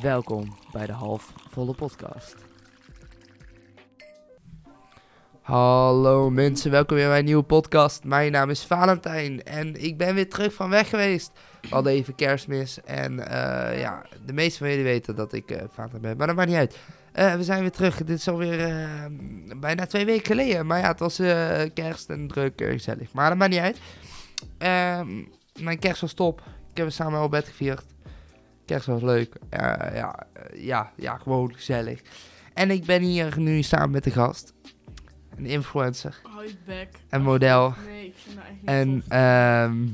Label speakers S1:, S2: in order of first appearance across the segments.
S1: Welkom bij de Halfvolle Podcast. Hallo mensen, welkom weer bij een nieuwe podcast. Mijn naam is Valentijn en ik ben weer terug van weg geweest. We hadden even kerstmis en eh, ja, de meeste van jullie weten dat ik eh vader ben, maar dat maakt niet uit. Eh, we zijn weer terug, dit is alweer eh, bijna twee weken geleden. Maar ja, het was eh, kerst en druk en gezellig, maar dat maakt niet uit. Ehm, mijn kerst was top, ik heb er samen al bed gevierd. Kerst was leuk. Eh, ja, eh, ja, ja, gewoon gezellig. En ik ben hier nu samen met de gast. Een influencer
S2: Houd back.
S1: en model.
S2: Nee, ik vind dat echt niet
S1: En
S2: tof.
S1: ehm,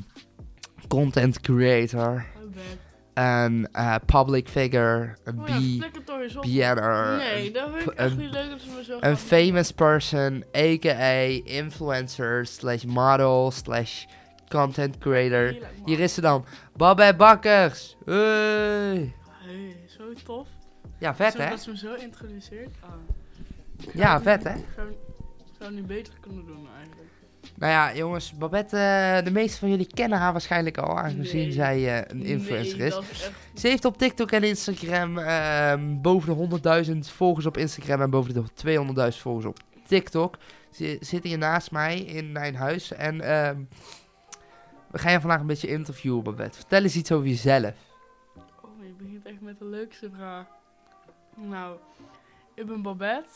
S1: content creator.
S2: Houd back.
S1: En eh, public figure. Een
S2: Oh
S1: B,
S2: ja, flikker toch eens op.
S1: BN'er.
S2: Nee, dat vind ik
S1: een-
S2: echt niet leuk dat ze me zo
S1: Een
S2: gaan-
S1: famous person, a.k.a. influencer, slash model, slash content creator.
S2: Heerlijk, man.
S1: Hier is ze dan. Babette Bakkers. Hey.
S2: Hey, zo tof.
S1: Ja, vet
S2: zo,
S1: hè?
S2: Dat ze me zo introduceert. Ah.
S1: Ja, vet hè?
S2: Ik zou, ik zou het nu beter kunnen doen eigenlijk.
S1: Nou ja, jongens, Babette, eh, de meeste van jullie kennen haar waarschijnlijk al, aangezien
S2: Nee.
S1: zij eh, een influencer
S2: nee,
S1: is.
S2: Dat is echt...
S1: Ze heeft op TikTok en Instagram ehm, boven de 100.000 volgers op Instagram en boven de 200.000 volgers op TikTok. Ze zit hier naast mij in mijn huis en ehm, we gaan je vandaag een beetje interviewen, Babette. Vertel eens iets over jezelf.
S2: Oh, je begint echt met de leukste vraag. Nou, ik ben Babette.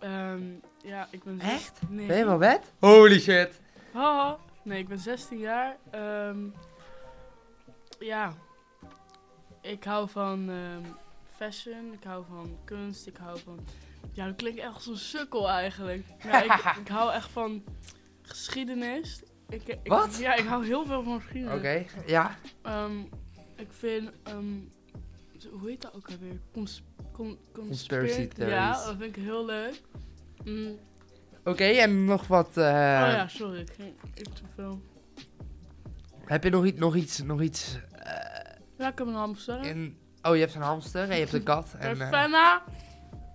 S2: Ehm, ja, ik ben... zes-
S1: Echt?
S2: Nee.
S1: Ben je Babette? Holy shit!
S2: Haha. Nee, ik ben 16 jaar. Ehm, ja. Ik hou van ehm, fashion, ik hou van kunst, ik hou van... Ja, dat klinkt echt als een sukkel eigenlijk. Maar ik, ik hou echt van geschiedenis. Ik, ik-
S1: Wat?
S2: Ja, ik hou heel veel van
S1: Oké,
S2: geschiedenis.
S1: ja.
S2: Ehm, ik vind... ehm, zo- hoe heet dat ook alweer? Cons con
S1: Conspiracy
S2: conspira- Ja,
S1: theories.
S2: dat vind ik heel leuk. Mm,
S1: Oké, en nog wat... eh,
S2: oh ja, sorry. Ik ging ik te veel.
S1: Heb je nog, iets, nog iets, nog iets
S2: Ja, ik heb een hamster.
S1: in... Oh, je hebt een hamster en je hebt een kat. En,
S2: En
S1: eh,
S2: Fenna,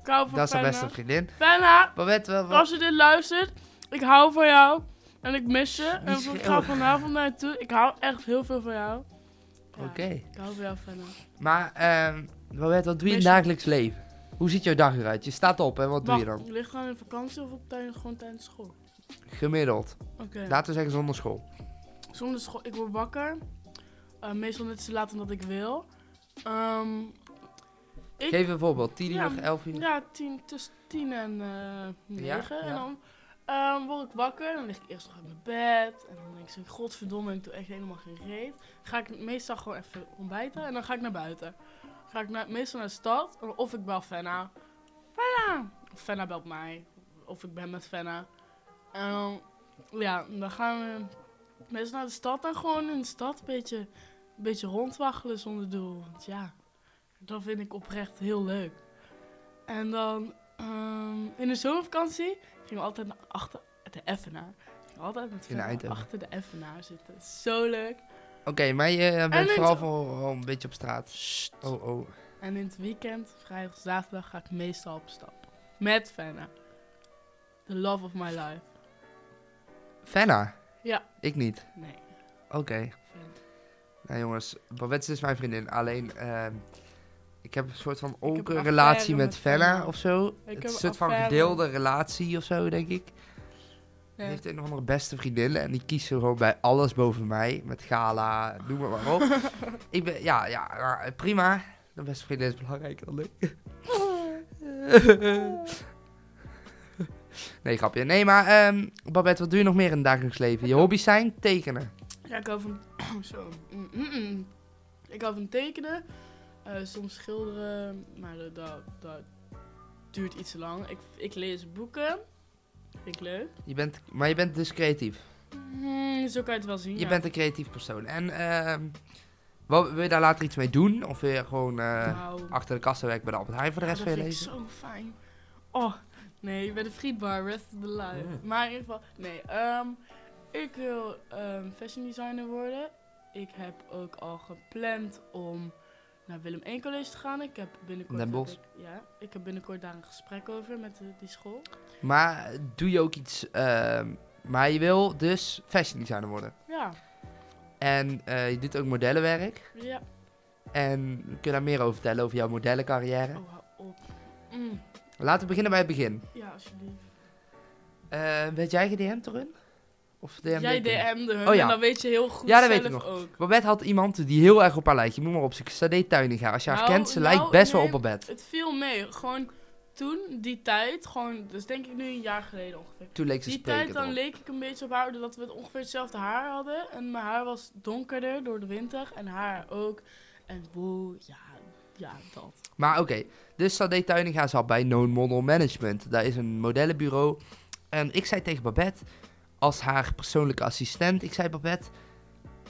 S2: ik hou van
S1: dat is haar
S2: Fenna.
S1: beste vriendin.
S2: Fenna,
S1: Babette, wel... wel-
S2: als je dit luistert, ik hou van jou. En ik mis je. En
S1: schreeuwen.
S2: ik ga vanavond naar je toe. Ik hou echt heel veel van jou. Ja,
S1: Oké.
S2: Ik hou van jou, Fenna.
S1: Maar, ehm Babette, wat doe je in
S2: Meestal-
S1: het dagelijks leven? Hoe ziet jouw dag eruit? Je staat op en wat doe je
S2: Wacht,
S1: dan?
S2: Ligt gewoon in vakantie of op tijdens, gewoon tijdens school?
S1: Gemiddeld.
S2: Oké.
S1: Laten we zeggen zonder school.
S2: Zonder school, ik word wakker. Eh, meestal net zo laat dan dat ik wil. Ehm, Ik-
S1: Geef een voorbeeld. 10 uur,
S2: Ja,
S1: 11 uur.
S2: ja, tien, tussen tien en eh negen.
S1: ja.
S2: En dan ehm, word ik wakker. Dan lig ik eerst nog in mijn bed. En dan denk ik zo, godverdomme, ik doe echt helemaal geen reet. Ga ik meestal gewoon even ontbijten. En dan ga ik naar buiten. Ga ik naar, meestal naar de stad. Of ik bel Fenna. Fenna! Of Fenna belt mij. Of ik ben met Fenna. En dan, ja, dan gaan we meestal naar de stad. En gewoon in de stad een beetje, een beetje rondwaggelen zonder doel. Want ja, dat vind ik oprecht heel leuk. En dan ehm, in de zomervakantie gingen we altijd naar achter de Effenaar. Gingen we altijd met
S1: In
S2: Fenna
S1: Eindhoven.
S2: achter de Effenaar zitten. Zo leuk.
S1: Oké, maar je eh, bent
S2: in
S1: vooral
S2: het-
S1: voor, oh, een beetje op straat. Oh, oh.
S2: En in het weekend, vrijdag, zaterdag, ga ik meestal op stap. Met Fenna. The love of my life.
S1: Fenna?
S2: Ja.
S1: Ik niet.
S2: Nee,
S1: Oké.
S2: Fenna.
S1: Nou jongens, Babette is mijn vriendin. Alleen, ehm, ik heb een soort van
S2: een
S1: ook een
S2: affaire
S1: relatie met
S2: met
S1: Fenna
S2: Fenna.
S1: of zo.
S2: heb
S1: het is
S2: een
S1: een soort van
S2: affaire.
S1: gedeelde relatie of zo, denk ik. Die
S2: Nee.
S1: heeft een of andere beste vriendin en die kiest er gewoon bij alles boven mij. Met gala, noem maar, maar op. ik ben, ja, ja, ja, prima. De beste vriendin is belangrijker dan ik. nee, grapje. Nee, maar ehm, Babette, wat doe je nog meer in het dagelijks leven? Je hobby's zijn tekenen.
S2: Ja, ik hou van... Zo. Mm, mm, mm. Ik hou van tekenen. eh, soms schilderen. Maar dat, dat, dat duurt iets te lang. Ik, ik lees boeken. Vind ik leuk.
S1: Je bent, maar je bent dus creatief.
S2: Mm, zo kan je het wel zien.
S1: Je
S2: ja.
S1: bent een creatief persoon. En ehm, wat, wil je daar later iets mee doen? Of wil je gewoon eh,
S2: Nou,
S1: achter de kassen werken bij de Albert Heijn voor de rest
S2: dat
S1: van je
S2: vind ik
S1: leven?
S2: zo fijn. Oh, nee, bij de frietbar, rest of the life. Maar in ieder geval, nee. ehm, ik wil ehm, fashion designer worden. Ik heb ook al gepland om naar Willem I College te gaan. Ik heb binnenkort...
S1: Den
S2: heb
S1: Bosch.
S2: ik- ja, ik heb binnenkort daar een gesprek over met de- die school.
S1: Maar doe je ook iets. ehm, maar je wil dus fashion designer worden.
S2: Ja,
S1: En eh, je doet ook modellenwerk.
S2: ja.
S1: En kun je daar meer over vertellen, over jouw modellencarrière?
S2: Oh, hou op. Mm,
S1: Laten we beginnen bij het begin.
S2: ja, alsjeblieft.
S1: Eh werd jij gedm'd erin? Of DM'd
S2: Jij
S1: ik hem?
S2: DM'de hun
S1: Oh, ja.
S2: en dan weet je heel goed
S1: Ja, dat
S2: zelf
S1: weet ik nog.
S2: ook.
S1: Babette had iemand die heel erg op haar lijkt. Je moet maar opzoeken. Sade Tuiniga. Als je haar
S2: Nou,
S1: kent, ze
S2: nou,
S1: lijkt best wel
S2: nee.
S1: op Babette.
S2: Het viel mee. Gewoon toen, die tijd, gewoon, dus denk ik nu een jaar geleden ongeveer.
S1: Toen leek ze
S2: Die tijd
S1: spreken
S2: dan
S1: erop.
S2: leek ik een beetje op haar, doordat we het ongeveer hetzelfde haar hadden. En mijn haar was donkerder door de winter en haar ook. En wow, ja, ja, dat.
S1: Maar oké, dus Sade Tuiniga zat bij Known Model Management. Daar is een modellenbureau. En ik zei tegen Babette, als haar persoonlijke assistent, ik zei Babette,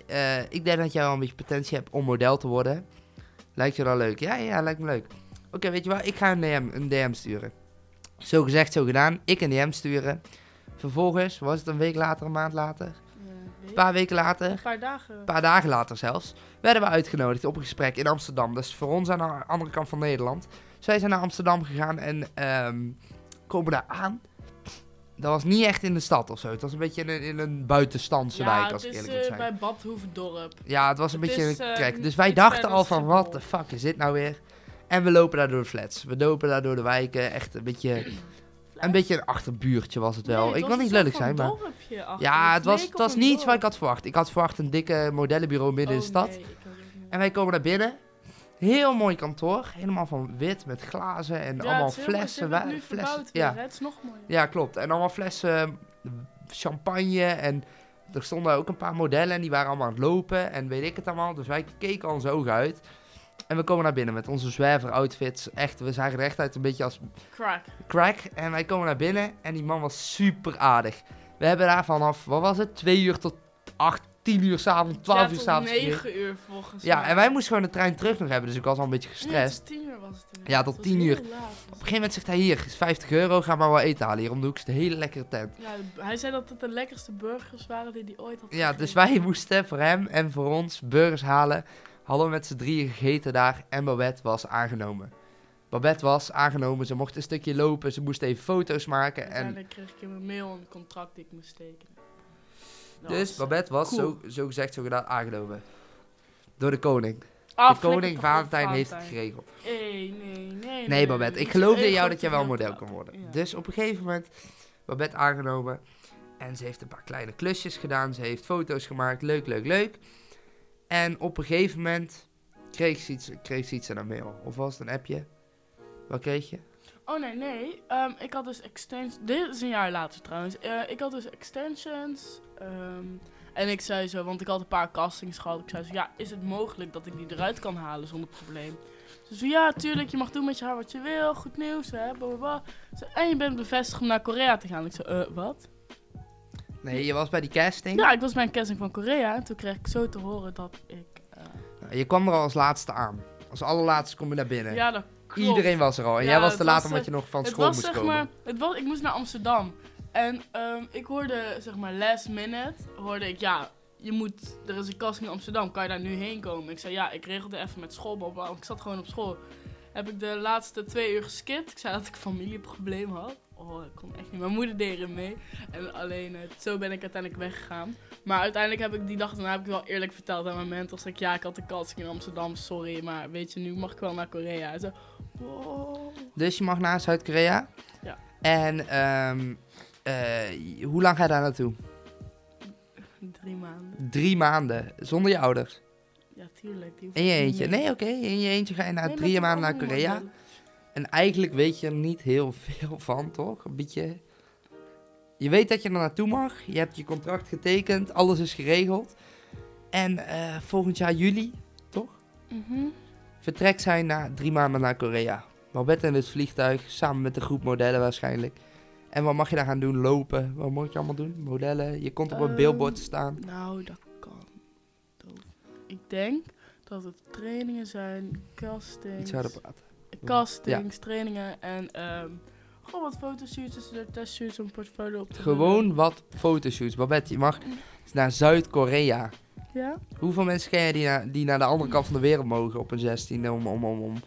S1: eh, ik denk dat jij wel een beetje potentie hebt om model te worden. Lijkt je dat leuk? Ja, ja, lijkt me leuk. Oké, weet je wat, ik ga een DM, een DM sturen. Zo gezegd, zo gedaan. Ik een DM sturen. Vervolgens, was het een week later, een maand later, een
S2: Ja,
S1: paar weken later,
S2: een paar dagen.
S1: een paar dagen later zelfs, werden we uitgenodigd op een gesprek in Amsterdam. Dat is voor ons aan de andere kant van Nederland. Zij zijn naar Amsterdam gegaan en ehm, komen daar aan. Dat was niet echt in de stad of zo. Het was een beetje in een, in een buitenstandse
S2: ja,
S1: wijk, als ik
S2: het is
S1: eerlijk moet
S2: eh,
S1: zijn.
S2: bij Badhoevedorp.
S1: Ja, het was een
S2: het
S1: beetje
S2: is,
S1: een
S2: eh,
S1: trek. Dus
S2: niet
S1: wij
S2: iets
S1: dachten
S2: verder
S1: al van,
S2: Schiphol.
S1: wat de fuck is dit nou weer? En we lopen daar door de flats. We lopen daar door de wijken. Echt een beetje een, beetje een achterbuurtje was het wel.
S2: Nee, het
S1: ik
S2: was
S1: wil niet
S2: een soort
S1: lelijk zijn,
S2: van
S1: maar...
S2: dorpje achter.
S1: Ja, het was,
S2: leek
S1: het
S2: op
S1: was
S2: een
S1: niet iets wat ik
S2: dorp.
S1: had verwacht. Ik had verwacht een dikke modellenbureau midden in de
S2: Oh,
S1: stad.
S2: nee, ik had het niet.
S1: En wij komen naar binnen. Heel mooi kantoor. Helemaal van wit met glazen en
S2: Ja,
S1: allemaal
S2: het is heel mooi. Ze
S1: flessen.
S2: hebben het
S1: wa-
S2: nu
S1: flessen
S2: verbouwd weer,
S1: ja.
S2: hè? Het is nog mooier.
S1: ja, klopt. En allemaal flessen champagne. En er stonden ook een paar modellen en die waren allemaal aan het lopen. En weet ik het allemaal. Dus wij keken al onze ogen uit. En we komen naar binnen met onze zwerver-outfits. Echt, we zagen er echt uit een beetje als
S2: Crack.
S1: crack. En wij komen naar binnen en die man was super aardig. We hebben daar vanaf, wat was het? Twee uur tot acht, tien uur s'avonds, twaalf uur s'avonds. gereden.
S2: 9 uur volgens
S1: Ja,
S2: mij.
S1: en wij moesten gewoon de trein terug nog hebben, dus ik was al een beetje
S2: Nee, het was
S1: gestrest.
S2: 10 uur was het. inderdaad.
S1: Ja, tot
S2: Het was
S1: 10 uur.
S2: heel laat.
S1: Op een gegeven moment zegt hij, hier, is 50 euro, ga maar wel eten halen hier om de hoek. is een hele lekkere tent.
S2: Ja, hij zei dat het de lekkerste burgers waren die hij ooit had
S1: Ja, dus
S2: gegeten.
S1: wij moesten voor hem en voor ons burgers halen. Hadden we met z'n drieën gegeten daar en Babette was aangenomen. Babette was aangenomen, ze mocht een stukje lopen, ze moest even foto's maken. En
S2: Uiteindelijk kreeg ik in mijn mail een contract die ik moest tekenen. Dat
S1: dus
S2: was, eh,
S1: Babette was,
S2: cool.
S1: zo, zo gezegd, zo gedaan, aangenomen. Door de koning. De
S2: afgelukkig
S1: koning
S2: toch
S1: Valentijn
S2: wel
S1: heeft het geregeld.
S2: Nee, nee, nee.
S1: Nee, Babette, ik geloofde in jou dat jij wel een model
S2: kan
S1: kan worden. Dus op een gegeven moment, Babette aangenomen. En ze heeft een paar kleine klusjes gedaan. Ze heeft foto's gemaakt. Leuk, leuk, leuk. En op een gegeven moment kreeg ze iets, kreeg ze iets aan haar mail. Of was het een appje? Wat kreeg je?
S2: Oh nee, nee. Ehm, ik had dus extensions. Dit is een jaar later trouwens. Eh, ik had dus extensions. ehm, en ik zei zo, want ik had een paar castings gehad. Ik zei zo, ja, is het mogelijk dat ik die eruit kan halen zonder probleem? Ze zei, ja, tuurlijk, je mag doen met je haar wat je wil. Goed nieuws, hè, blablabla. Ze zei, En je bent bevestigd om naar Korea te gaan. Ik zei, eh, wat?
S1: Nee, je was bij die casting.
S2: Ja, ik was bij een casting van Korea. En toen kreeg ik zo te horen dat ik... eh,
S1: Nou, Je kwam er al als laatste aan. Als allerlaatste kom je naar binnen.
S2: ja, dat klopt.
S1: Iedereen was er al. En
S2: Ja,
S1: jij was
S2: het
S1: te
S2: was,
S1: laat
S2: eh,
S1: omdat je nog van
S2: het
S1: school
S2: was
S1: moest
S2: zeg
S1: komen.
S2: maar, het was, ik moest naar Amsterdam. En ehm, ik hoorde zeg maar last minute, hoorde ik ja, je moet, er is een casting in Amsterdam, kan je daar nu heen komen? Ik zei ja, ik regelde even met school, bla, bla, want ik zat gewoon op school. Heb ik de laatste twee uur geskipt. Ik zei dat ik een familieprobleem had. Oh, ik kon echt niet. Mijn moeder deed erin mee. En alleen, eh, zo ben ik uiteindelijk weggegaan. Maar uiteindelijk heb ik die dag daarna heb ik wel eerlijk verteld aan mijn mentor. Zeg ik, ja, ik had de casting in Amsterdam, sorry. Maar weet je, nu mag ik wel naar Korea. "Oh, En zo, wow.
S1: Dus je mag naar Zuid-Korea.
S2: Ja.
S1: En ehm, eh, hoe lang ga je daar naartoe?
S2: Drie maanden.
S1: Drie maanden, zonder je ouders. Mm.
S2: Ja, tuurlijk. Die hoeft
S1: In je
S2: niet
S1: eentje.
S2: meer.
S1: Nee, oké. In je eentje ga je na
S2: Nee,
S1: drie
S2: met een
S1: maanden naar
S2: andere
S1: Korea.
S2: model.
S1: En eigenlijk weet je er niet heel veel van, toch? Een beetje... Je weet dat je er naartoe mag. Je hebt je contract getekend. Alles is geregeld. En eh, volgend jaar juli
S2: Mhm.
S1: vertrekt zij na drie maanden naar Korea. Babette in het vliegtuig, samen met de groep modellen waarschijnlijk. En wat mag je daar gaan doen? Lopen. Wat moet je allemaal doen? Modellen. Je komt op een
S2: Ehm,
S1: billboard te staan.
S2: Nou, dat kan. Doof. Ik denk dat het trainingen zijn, castings,
S1: Iets harder praten.
S2: castings trainingen en ehm, gewoon wat fotoshoots, tussendoor testshoots om portfolio op te vullen.
S1: Gewoon wat fotoshoots. Babette, je mag
S2: Mhm.
S1: naar Zuid-Korea.
S2: Ja?
S1: Hoeveel mensen ken je die, na- die naar de andere kant van de wereld mogen op een 16 om, om, om, om een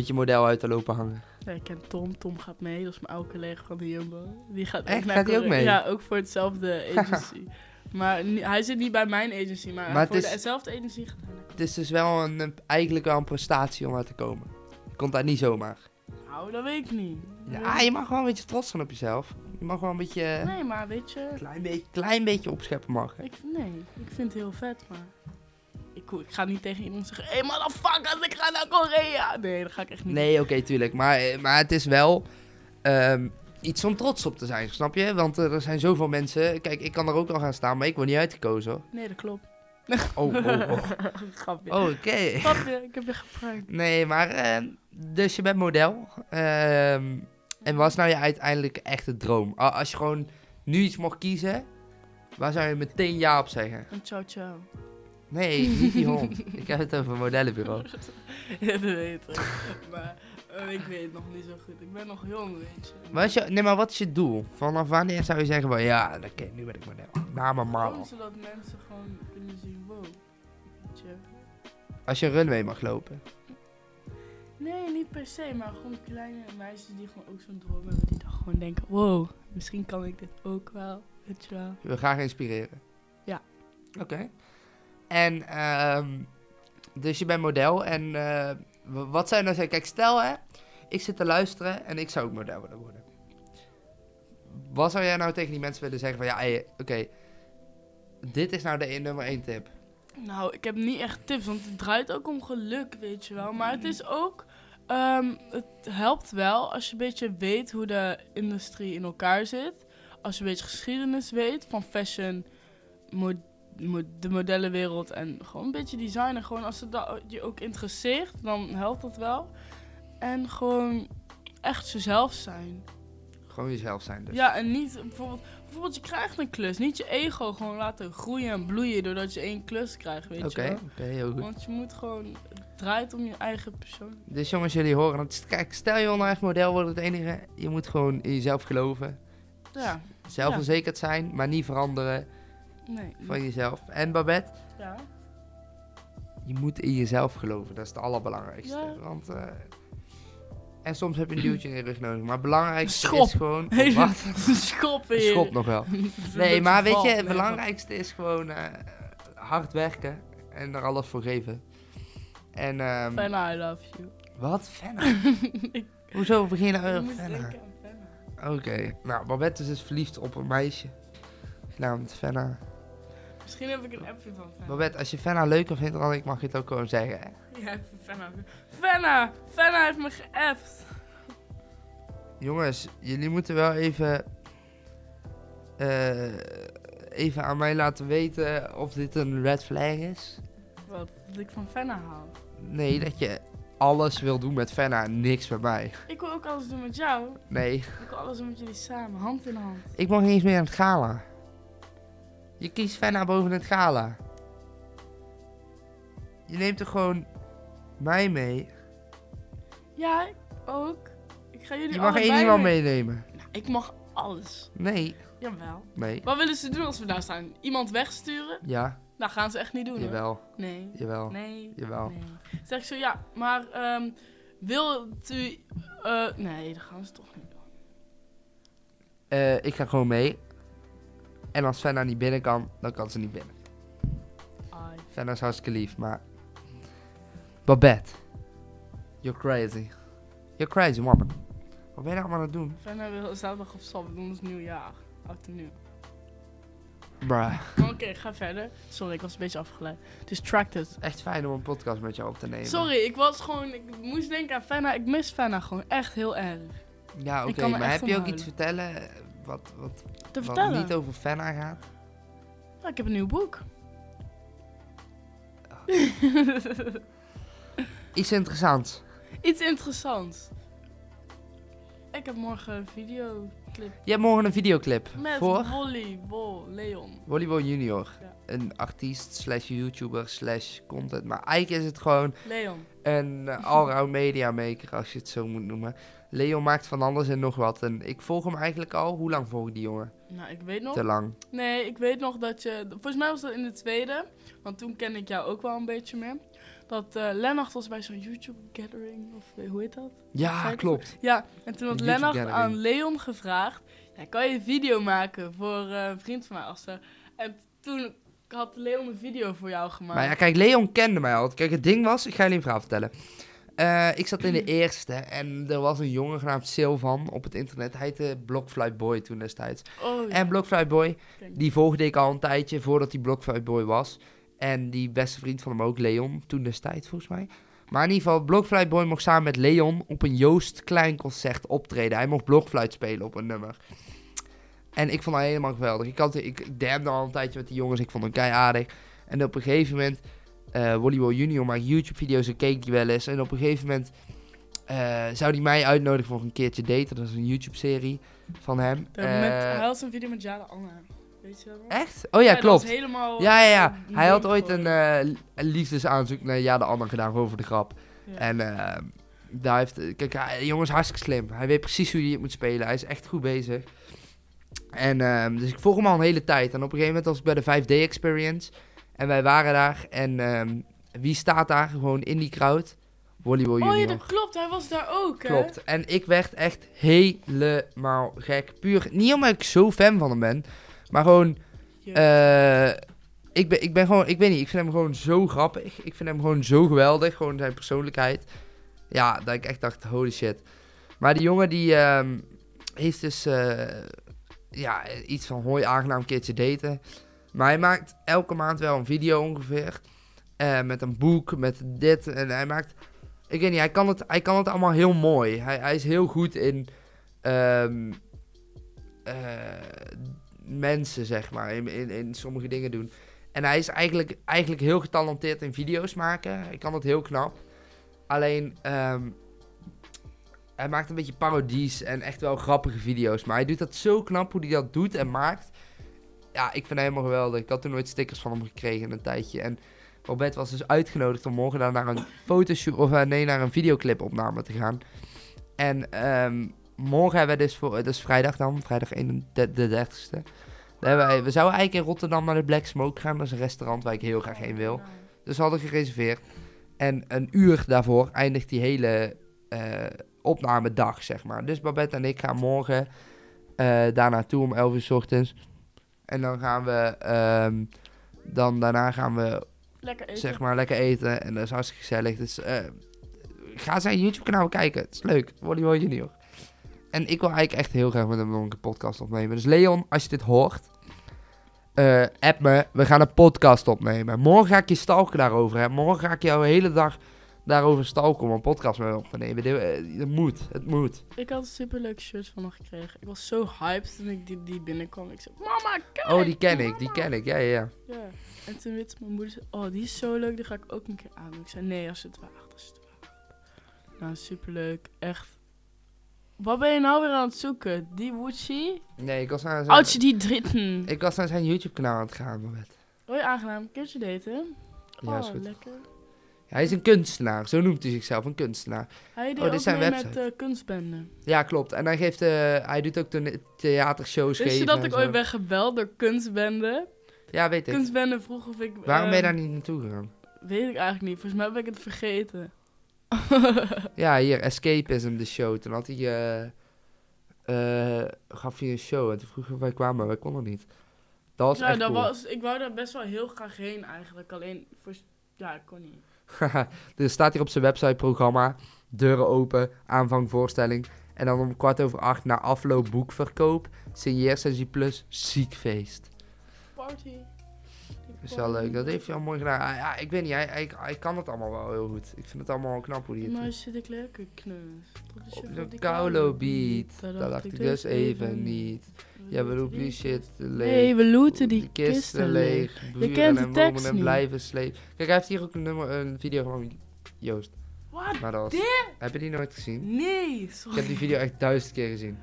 S1: beetje model uit te lopen hangen?
S2: Nee, ik ken Tom. Tom gaat mee. Dat is mijn oude collega van de Jumbo. Die gaat ook
S1: Echt?
S2: naar
S1: Gaat die ook
S2: Korea.
S1: mee?
S2: Ja, ook voor hetzelfde agency. Maar ni- hij zit niet bij mijn agency, maar,
S1: Maar
S2: voor
S1: het is-
S2: dezelfde agency gaat hij
S1: Het is dus wel een, een- eigenlijk wel een prestatie om uit te komen. Je komt daar niet zomaar.
S2: naar- Nou, dat weet ik niet.
S1: Ja, ah, je mag wel een beetje trots zijn op jezelf. Je mag wel een beetje, een
S2: Nee, maar weet je,
S1: klein beetje, klein beetje opscheppen mag.
S2: ik, nee, ik vind het heel vet, maar ik, ik ga niet tegen iemand zeggen, hé hey, motherfuckers, ik ga naar Korea. Nee, dat ga ik echt niet
S1: Nee, oké, tuurlijk. Maar, eh, maar het is wel ehm, iets om trots op te zijn, snap je? Want eh, er zijn zoveel mensen. Kijk, ik kan er ook al gaan staan, maar ik word niet uitgekozen. hoor.
S2: Nee, dat klopt.
S1: Oh, oh, oh.
S2: Grapje.
S1: Oké.
S2: Grapje, ik heb je geprankt.
S1: Nee, maar ehm, dus je bent model. Ehm, en wat is nou je uiteindelijke echte droom? A- Als je gewoon nu iets mocht kiezen, waar zou je meteen ja op zeggen?
S2: Een ciao ciao.
S1: Nee, niet die hond. Ik heb het over modellenbureau.
S2: Ja, dat weet ik. Maar eh, ik weet het nog niet zo goed. Ik ben nog jong, weet je.
S1: Wat is je, nee, maar wat is je doel? Vanaf wanneer zou je zeggen van ja, dat ken, nu ben ik model. Na mijn ma.
S2: Gewoon zodat mensen gewoon kunnen zien, wow. Weet je.
S1: Als je een runway mag lopen.
S2: Nee, niet per se, maar gewoon kleine meisjes die gewoon ook zo'n droom hebben. Die dan gewoon denken, wow, misschien kan ik dit ook wel. Weet je wel.
S1: Je wil graag inspireren.
S2: Ja.
S1: Oké. En ehm, dus je bent model en eh, w- wat zijn nou zijn? Kijk, stel hè, ik zit te luisteren en ik zou ook model willen worden. Wat zou jij nou tegen die mensen willen zeggen van ja, hey, oké, dit is nou de één- nummer één tip.
S2: Nou, ik heb niet echt tips, want het draait ook om geluk, weet je wel. Maar het
S1: Mm.
S2: is ook, ehm, het helpt wel als je een beetje weet hoe de industrie in elkaar zit. Als je een beetje geschiedenis weet van fashion, mo- mo- de modellenwereld en gewoon een beetje design. En gewoon als het da- je ook interesseert, dan helpt dat wel. En gewoon echt jezelf zijn.
S1: Gewoon jezelf zijn dus.
S2: Ja, en niet bijvoorbeeld, bijvoorbeeld, je krijgt een klus. Niet je ego gewoon laten groeien en bloeien doordat je één klus krijgt, weet
S1: Oké,
S2: je wel.
S1: oké, heel goed.
S2: Want je moet gewoon, het draait om je eigen persoon.
S1: Dus jongens, jullie horen het. Kijk, stel je wil nou echt model worden, het enige, je moet gewoon in jezelf geloven.
S2: Ja,
S1: Zelfverzekerd zijn, maar niet veranderen
S2: nee.
S1: van Oh, jezelf. En Babette?
S2: Ja.
S1: je moet in jezelf geloven. Dat is het allerbelangrijkste.
S2: Ja.
S1: Want, eh, en soms heb je een duwtje in je rug nodig. Maar het belangrijkste
S2: Schop.
S1: is gewoon...
S2: Hele
S1: Wat?
S2: schop
S1: Een
S2: in je.
S1: Schop nog wel.
S2: Dat
S1: Nee, maar weet je,
S2: valt.
S1: het
S2: Nee,
S1: belangrijkste is gewoon eh, hard werken. En er alles voor geven. En,
S2: maar-
S1: ehm,
S2: Fenna, I love you.
S1: Wat? Fenna? Hoezo begin je nou
S2: Ik
S1: over
S2: moest
S1: Fenna?
S2: denken aan Fenna.
S1: Oké. Nou, Babette is dus verliefd op een meisje. Genaamd Fenna.
S2: Misschien heb ik een appje van Fenna.
S1: Babette, als je Fenna leuker vindt, dan ik mag je het ook gewoon zeggen. hè?
S2: Ja, ik vind Fenna. Fenna! Fenna heeft me geappt.
S1: Jongens, jullie moeten wel even. eh, even aan mij laten weten of dit een red flag is.
S2: Wat? Dat ik van Fenna haal.
S1: Nee, dat je alles wil doen met Fenna en niks met mij.
S2: Ik wil ook alles doen met jou.
S1: Nee,
S2: Ik wil alles doen met jullie samen, hand in hand.
S1: ik mag niet eens meer aan het gala. Je kiest Fenna boven het gala. Je neemt er gewoon mij mee.
S2: Ja, ik ook. Ik ga jullie
S1: Je mag één
S2: allebei
S1: iemand meenemen.
S2: Ik mag alles.
S1: Nee,
S2: Jawel.
S1: nee.
S2: Wat willen ze doen als we daar staan? Iemand wegsturen?
S1: Ja,
S2: Nou, gaan ze echt niet doen. hoor.
S1: jawel,
S2: Nee.
S1: jawel,
S2: Nee.
S1: jawel.
S2: Nee. Zeg ik zo, ja, maar ehm wilt u... eh, nee, dat gaan ze toch niet doen.
S1: Eh, ik ga gewoon mee. En als Fenna niet binnen kan, dan kan ze niet binnen.
S2: Ai.
S1: Fenna is hartstikke lief, maar... Babette. You're crazy. You're crazy, woman. Wat ben je nou allemaal aan het doen?
S2: Verder wil zaterdag op stap, we doen ons nieuwjaar. Oud en nieuw.
S1: Bruh.
S2: Oké, ga verder. Sorry, ik was een beetje afgeleid. Distracted.
S1: Echt fijn om een podcast met jou op te nemen.
S2: Sorry, ik was gewoon... Ik moest denken aan Fenna. Ik mis Fenna gewoon echt heel erg.
S1: Ja, oké,
S2: Ik kan er
S1: maar
S2: echt
S1: heb je
S2: om
S1: ook iets te vertellen eh, wat, wat,
S2: Te
S1: wat
S2: vertellen.
S1: niet over Fenna gaat?
S2: Ja, ik heb een nieuw boek.
S1: Iets interessants.
S2: Iets interessants. Ik heb morgen een videoclip
S1: Je hebt morgen een videoclip
S2: met
S1: voor
S2: Wolly, Wol, Leon.
S1: Volleyball Junior.
S2: Ja.
S1: Een artiest slash YouTuber slash content. Maar eigenlijk is het gewoon
S2: Leon.
S1: een eh, allround media maker, als je het zo moet noemen. Leon maakt van alles en nog wat. En ik volg hem eigenlijk al. Hoe lang volg ik die jongen?
S2: Nou, ik weet nog.
S1: Te lang.
S2: Nee, ik weet nog dat je. Volgens mij was dat in de tweede. Want toen kende ik jou ook wel een beetje meer. Dat eh Lennart was bij zo'n YouTube-gathering. Of eh, hoe heet dat?
S1: Ja,
S2: Kijk,
S1: klopt.
S2: Ja, en toen had
S1: Een
S2: Lennart
S1: YouTube-gathering.
S2: aan Leon gevraagd. Ja, kan je een video maken voor eh, een vriend van mij? Als ze... En toen had Leon een video voor jou gemaakt.
S1: Maar ja, kijk, Leon kende mij al. Kijk, het ding was, ik ga jullie een verhaal vertellen. Eh, ik zat in de eerste en er was een jongen genaamd Silvan op het internet. Hij heette Blockfly Boy toen destijds.
S2: oh, ja.
S1: En Blockfly Boy,
S2: Kijk.
S1: die volgde ik al een tijdje voordat hij Blockfly Boy was. En die beste vriend van hem ook, Leon, toen destijds volgens mij. Maar in ieder geval, Blockfly Boy mocht samen met Leon op een Joost Klein concert optreden. Hij mocht Blockfluit spelen op een nummer. En ik vond haar helemaal geweldig. Ik, had, ik damde al een tijdje met die jongens, ik vond hem kei aardig. En op een gegeven moment, eh Volleyball Junior maakt YouTube-video's en keek die wel eens. En op een gegeven moment eh, zou hij mij uitnodigen voor een keertje daten. Dat is een YouTube-serie van hem.
S2: De- met,
S1: Eh,
S2: hij had een video met Jade Anna. Weet je dat nog?
S1: Echt? Oh ja,
S2: dat was
S1: klopt.
S2: helemaal...
S1: Ja, ja, ja.
S2: eh,
S1: Hij had
S2: meme
S1: ooit een
S2: geworden.
S1: eh, een liefdesaanzoek naar ja, de ander gedaan, gewoon voor de grap.
S2: Ja.
S1: En eh, daar heeft... Kijk, hij, die jongen is hartstikke slim. Hij weet precies hoe hij het moet spelen. Hij is echt goed bezig. En ehm, dus ik volg hem al een hele tijd. En op een gegeven moment was ik bij de 5D Experience. En wij waren daar. En ehm, wie staat daar gewoon in die crowd? Volleyball
S2: Oh ja,
S1: Junior.
S2: dat klopt. Hij was daar ook, hè?
S1: Klopt. En ik werd echt helemaal gek. Puur, niet omdat ik zo fan van hem ben. Maar gewoon
S2: Ja.
S1: eh, ik, ben, ik ben gewoon, ik weet niet, ik vind hem gewoon zo grappig. Ik vind hem gewoon zo geweldig, gewoon zijn persoonlijkheid. Ja, dat ik echt dacht, holy shit. Maar die jongen die ehm, heeft dus eh, ja, iets van hoi aangenaam een keertje daten. Maar hij maakt elke maand wel een video ongeveer. Eh, met een boek, met dit. En hij maakt, ik weet niet, hij kan het, hij kan het allemaal heel mooi. Hij, hij is heel goed in ehm, eh, mensen, zeg maar, in, in, in sommige dingen doen. En hij is eigenlijk, eigenlijk heel getalenteerd in video's maken. Hij kan dat heel knap. Alleen, ehm, hij maakt een beetje parodies en echt wel grappige video's. Maar hij doet dat zo knap hoe hij dat doet en maakt. Ja, ik vind hem helemaal geweldig. Ik had toen nooit stickers van hem gekregen in een tijdje. En Robert was dus uitgenodigd om morgen daar naar een fotoshoot, of eh, nee, naar een videoclipopname te gaan. En ehm, morgen hebben we dus voor, dat is vrijdag dan, vrijdag 31ste. We, hebben, we zouden eigenlijk in Rotterdam naar de Black Smoke gaan. Dat is een restaurant waar ik heel graag heen wil. Dus we hadden gereserveerd. En een uur daarvoor eindigt die hele eh, opnamedag, zeg maar. Dus Babette en ik gaan morgen eh daar naartoe om 11 uur 's ochtends. En dan gaan we, ehm, dan daarna gaan we,
S2: Lekker eten.
S1: zeg maar, lekker eten. En dat is hartstikke gezellig. Dus eh, ga zijn YouTube-kanaal kijken. Het is leuk. Volleyball Junior. En ik wil eigenlijk echt heel graag met hem nog een podcast opnemen. Dus Leon, als je dit hoort, eh, app me. We gaan een podcast opnemen. Morgen ga ik je stalken daarover. Hè. Morgen ga ik jou de hele dag daarover stalken om een podcast met me op te nemen. Dit- eh, Het moet, het moet.
S2: Ik had een superleuk shirt van hem gekregen. Ik was zo hyped toen ik die, die binnenkwam. Ik zei, mama, kijk!
S1: Oh, die ken ik, die ken ik. Ja, ja, ja.
S2: Ja. En toen weet mijn moeder, zei, oh, die is zo leuk, die ga ik ook een keer aan. doen." Ik zei, nee, als het waagt, als het waagt. Nou, superleuk, echt. Wat ben je nou weer aan het zoeken? Die Wootsie?
S1: Nee, ik was naar zijn,
S2: Oudje die dritten.
S1: ik was naar zijn YouTube-kanaal aan het gaan. Babette.
S2: Hoi, aangenaam. Keertje daten.
S1: Ja,
S2: oh,
S1: is goed.
S2: lekker.
S1: Hij is een kunstenaar, zo noemt hij zichzelf, een kunstenaar.
S2: Hij deed
S1: Oh, dit
S2: ook
S1: zijn
S2: mee
S1: website.
S2: met eh, kunstbenden.
S1: Ja, klopt. En hij, geeft, eh, hij doet ook tone- theatershows
S2: Wist je
S1: geven
S2: dat
S1: en
S2: ik
S1: zo.
S2: ooit ben gebeld door kunstbenden?
S1: Ja, weet ik.
S2: Kunstbenden vroeg of ik...
S1: Waarom ben je
S2: ehm,
S1: daar niet naartoe gegaan?
S2: Weet ik eigenlijk niet. Volgens mij ben ik het vergeten.
S1: Ja, hier, Escapism, de show. Toen had hij, eh, eh, gaf hij een show en toen vroegen wij kwamen, maar wij konden niet. Dat was
S2: ja,
S1: echt
S2: Nou, dat
S1: cool.
S2: was, ik wou daar best wel heel graag heen eigenlijk. Alleen, voor, ja, ik kon niet.
S1: er staat hier op zijn website programma, deuren open, aanvang voorstelling. En dan om kwart over acht na afloop boekverkoop, signeersessie plus ziekfeest.
S2: Party.
S1: Dat is wel leuk, dat heeft hij al mooi gedaan. Hij- Ja, ik weet niet, hij, hij, hij kan het allemaal wel heel goed. Ik vind het allemaal wel knap hoe hij het
S2: Maar
S1: doet.
S2: zit ik lekker knus. Dat is
S1: Op
S2: je
S1: de
S2: van die
S1: koude
S2: koude
S1: beat,
S2: beat.
S1: Dat dacht ik dus even niet. Ja, we roepen die shit te leeg.
S2: Nee, dus we looten die
S1: Die kisten leeg. buren
S2: kent de
S1: en
S2: tekst
S1: wonen en
S2: niet.
S1: blijven slepen. Kijk, hij heeft hier ook een, nummer, een video van Joost.
S2: Wat?
S1: Maar dat was... Heb je die nooit gezien?
S2: Nee,
S1: Ik
S2: sorry.
S1: heb die video echt duizend keer gezien.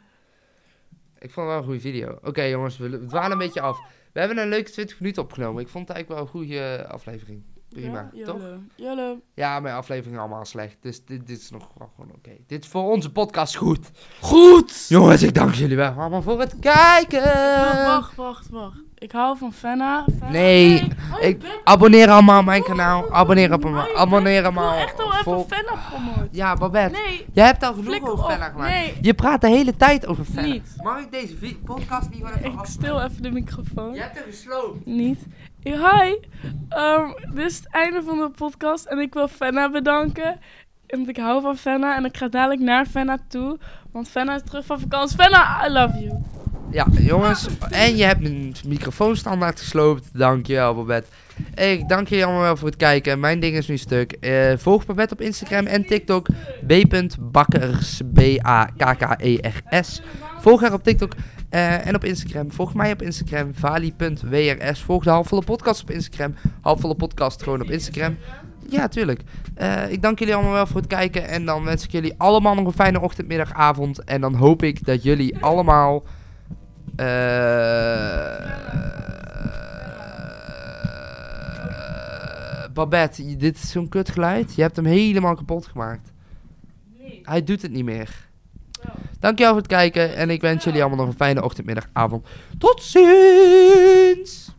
S1: Ik vond het wel een goede video. Oké jongens, we we dwalen een beetje af. We hebben een leuke 20 minuten opgenomen. Ik vond het eigenlijk wel een goede aflevering. Prima,
S2: Ja,
S1: toch?
S2: Jolo. Jolo.
S1: Ja, mijn afleveringen allemaal slecht. Dus dit, dit is nog wel gewoon oké. Dit is voor onze podcast goed.
S2: Goed!
S1: Jongens, ik dank jullie wel allemaal voor het kijken.
S2: Wacht, wacht, wacht, wacht. Ik hou van Fenna. Fenna-
S1: Nee,
S2: Oh, je
S1: ik-
S2: bent-
S1: Abonneer allemaal op mijn kanaal. Abonneer op
S2: Oh,
S1: allemaal.
S2: je
S1: Abonneer
S2: bent-
S1: allemaal.
S2: Ik wil echt al
S1: Volg-
S2: even Fenna promoten.
S1: Ja, Babette.
S2: Nee,
S1: Jij hebt al genoeg
S2: flikker
S1: over
S2: op.
S1: Fenna gemaakt.
S2: Nee,
S1: Je praat de hele tijd over Fenna.
S2: Niet.
S1: Mag ik deze vi- podcast niet wel even
S2: ik
S1: af?
S2: stil even de microfoon.
S1: Je hebt er gesloopt.
S2: Niet. Ja, Hi, Ehm, dit is het einde van de podcast en ik wil Fenna bedanken. Want ik hou van Fenna en ik ga dadelijk naar Fenna toe. Want Fenna is terug van vakantie. Fenna, I love you.
S1: Ja, jongens. En je hebt een microfoonstandaard gesloopt. Dankjewel, Babette. Ik dank jullie allemaal wel voor het kijken. Mijn ding is nu stuk. Eh, volg Babette op Instagram en TikTok. B.bakkers. E B-A-K-K-E-R-S. Volg haar op TikTok eh, en op Instagram. Volg mij op Instagram. Vali.wrs. Volg de Halfvolle Podcast op Instagram. Halfvolle Podcast gewoon op Instagram. Ja, tuurlijk. Eh, ik dank jullie allemaal wel voor het kijken. En dan wens ik jullie allemaal nog een fijne ochtend, middag, avond. En dan hoop ik dat jullie allemaal... eh, Babette, je- dit is zo'n kutgeluid. Je hebt hem helemaal kapot gemaakt. Hij doet het niet meer. Dankjewel voor het kijken en ik wens jullie allemaal nog een fijne ochtend, middag, avond. Tot ziens!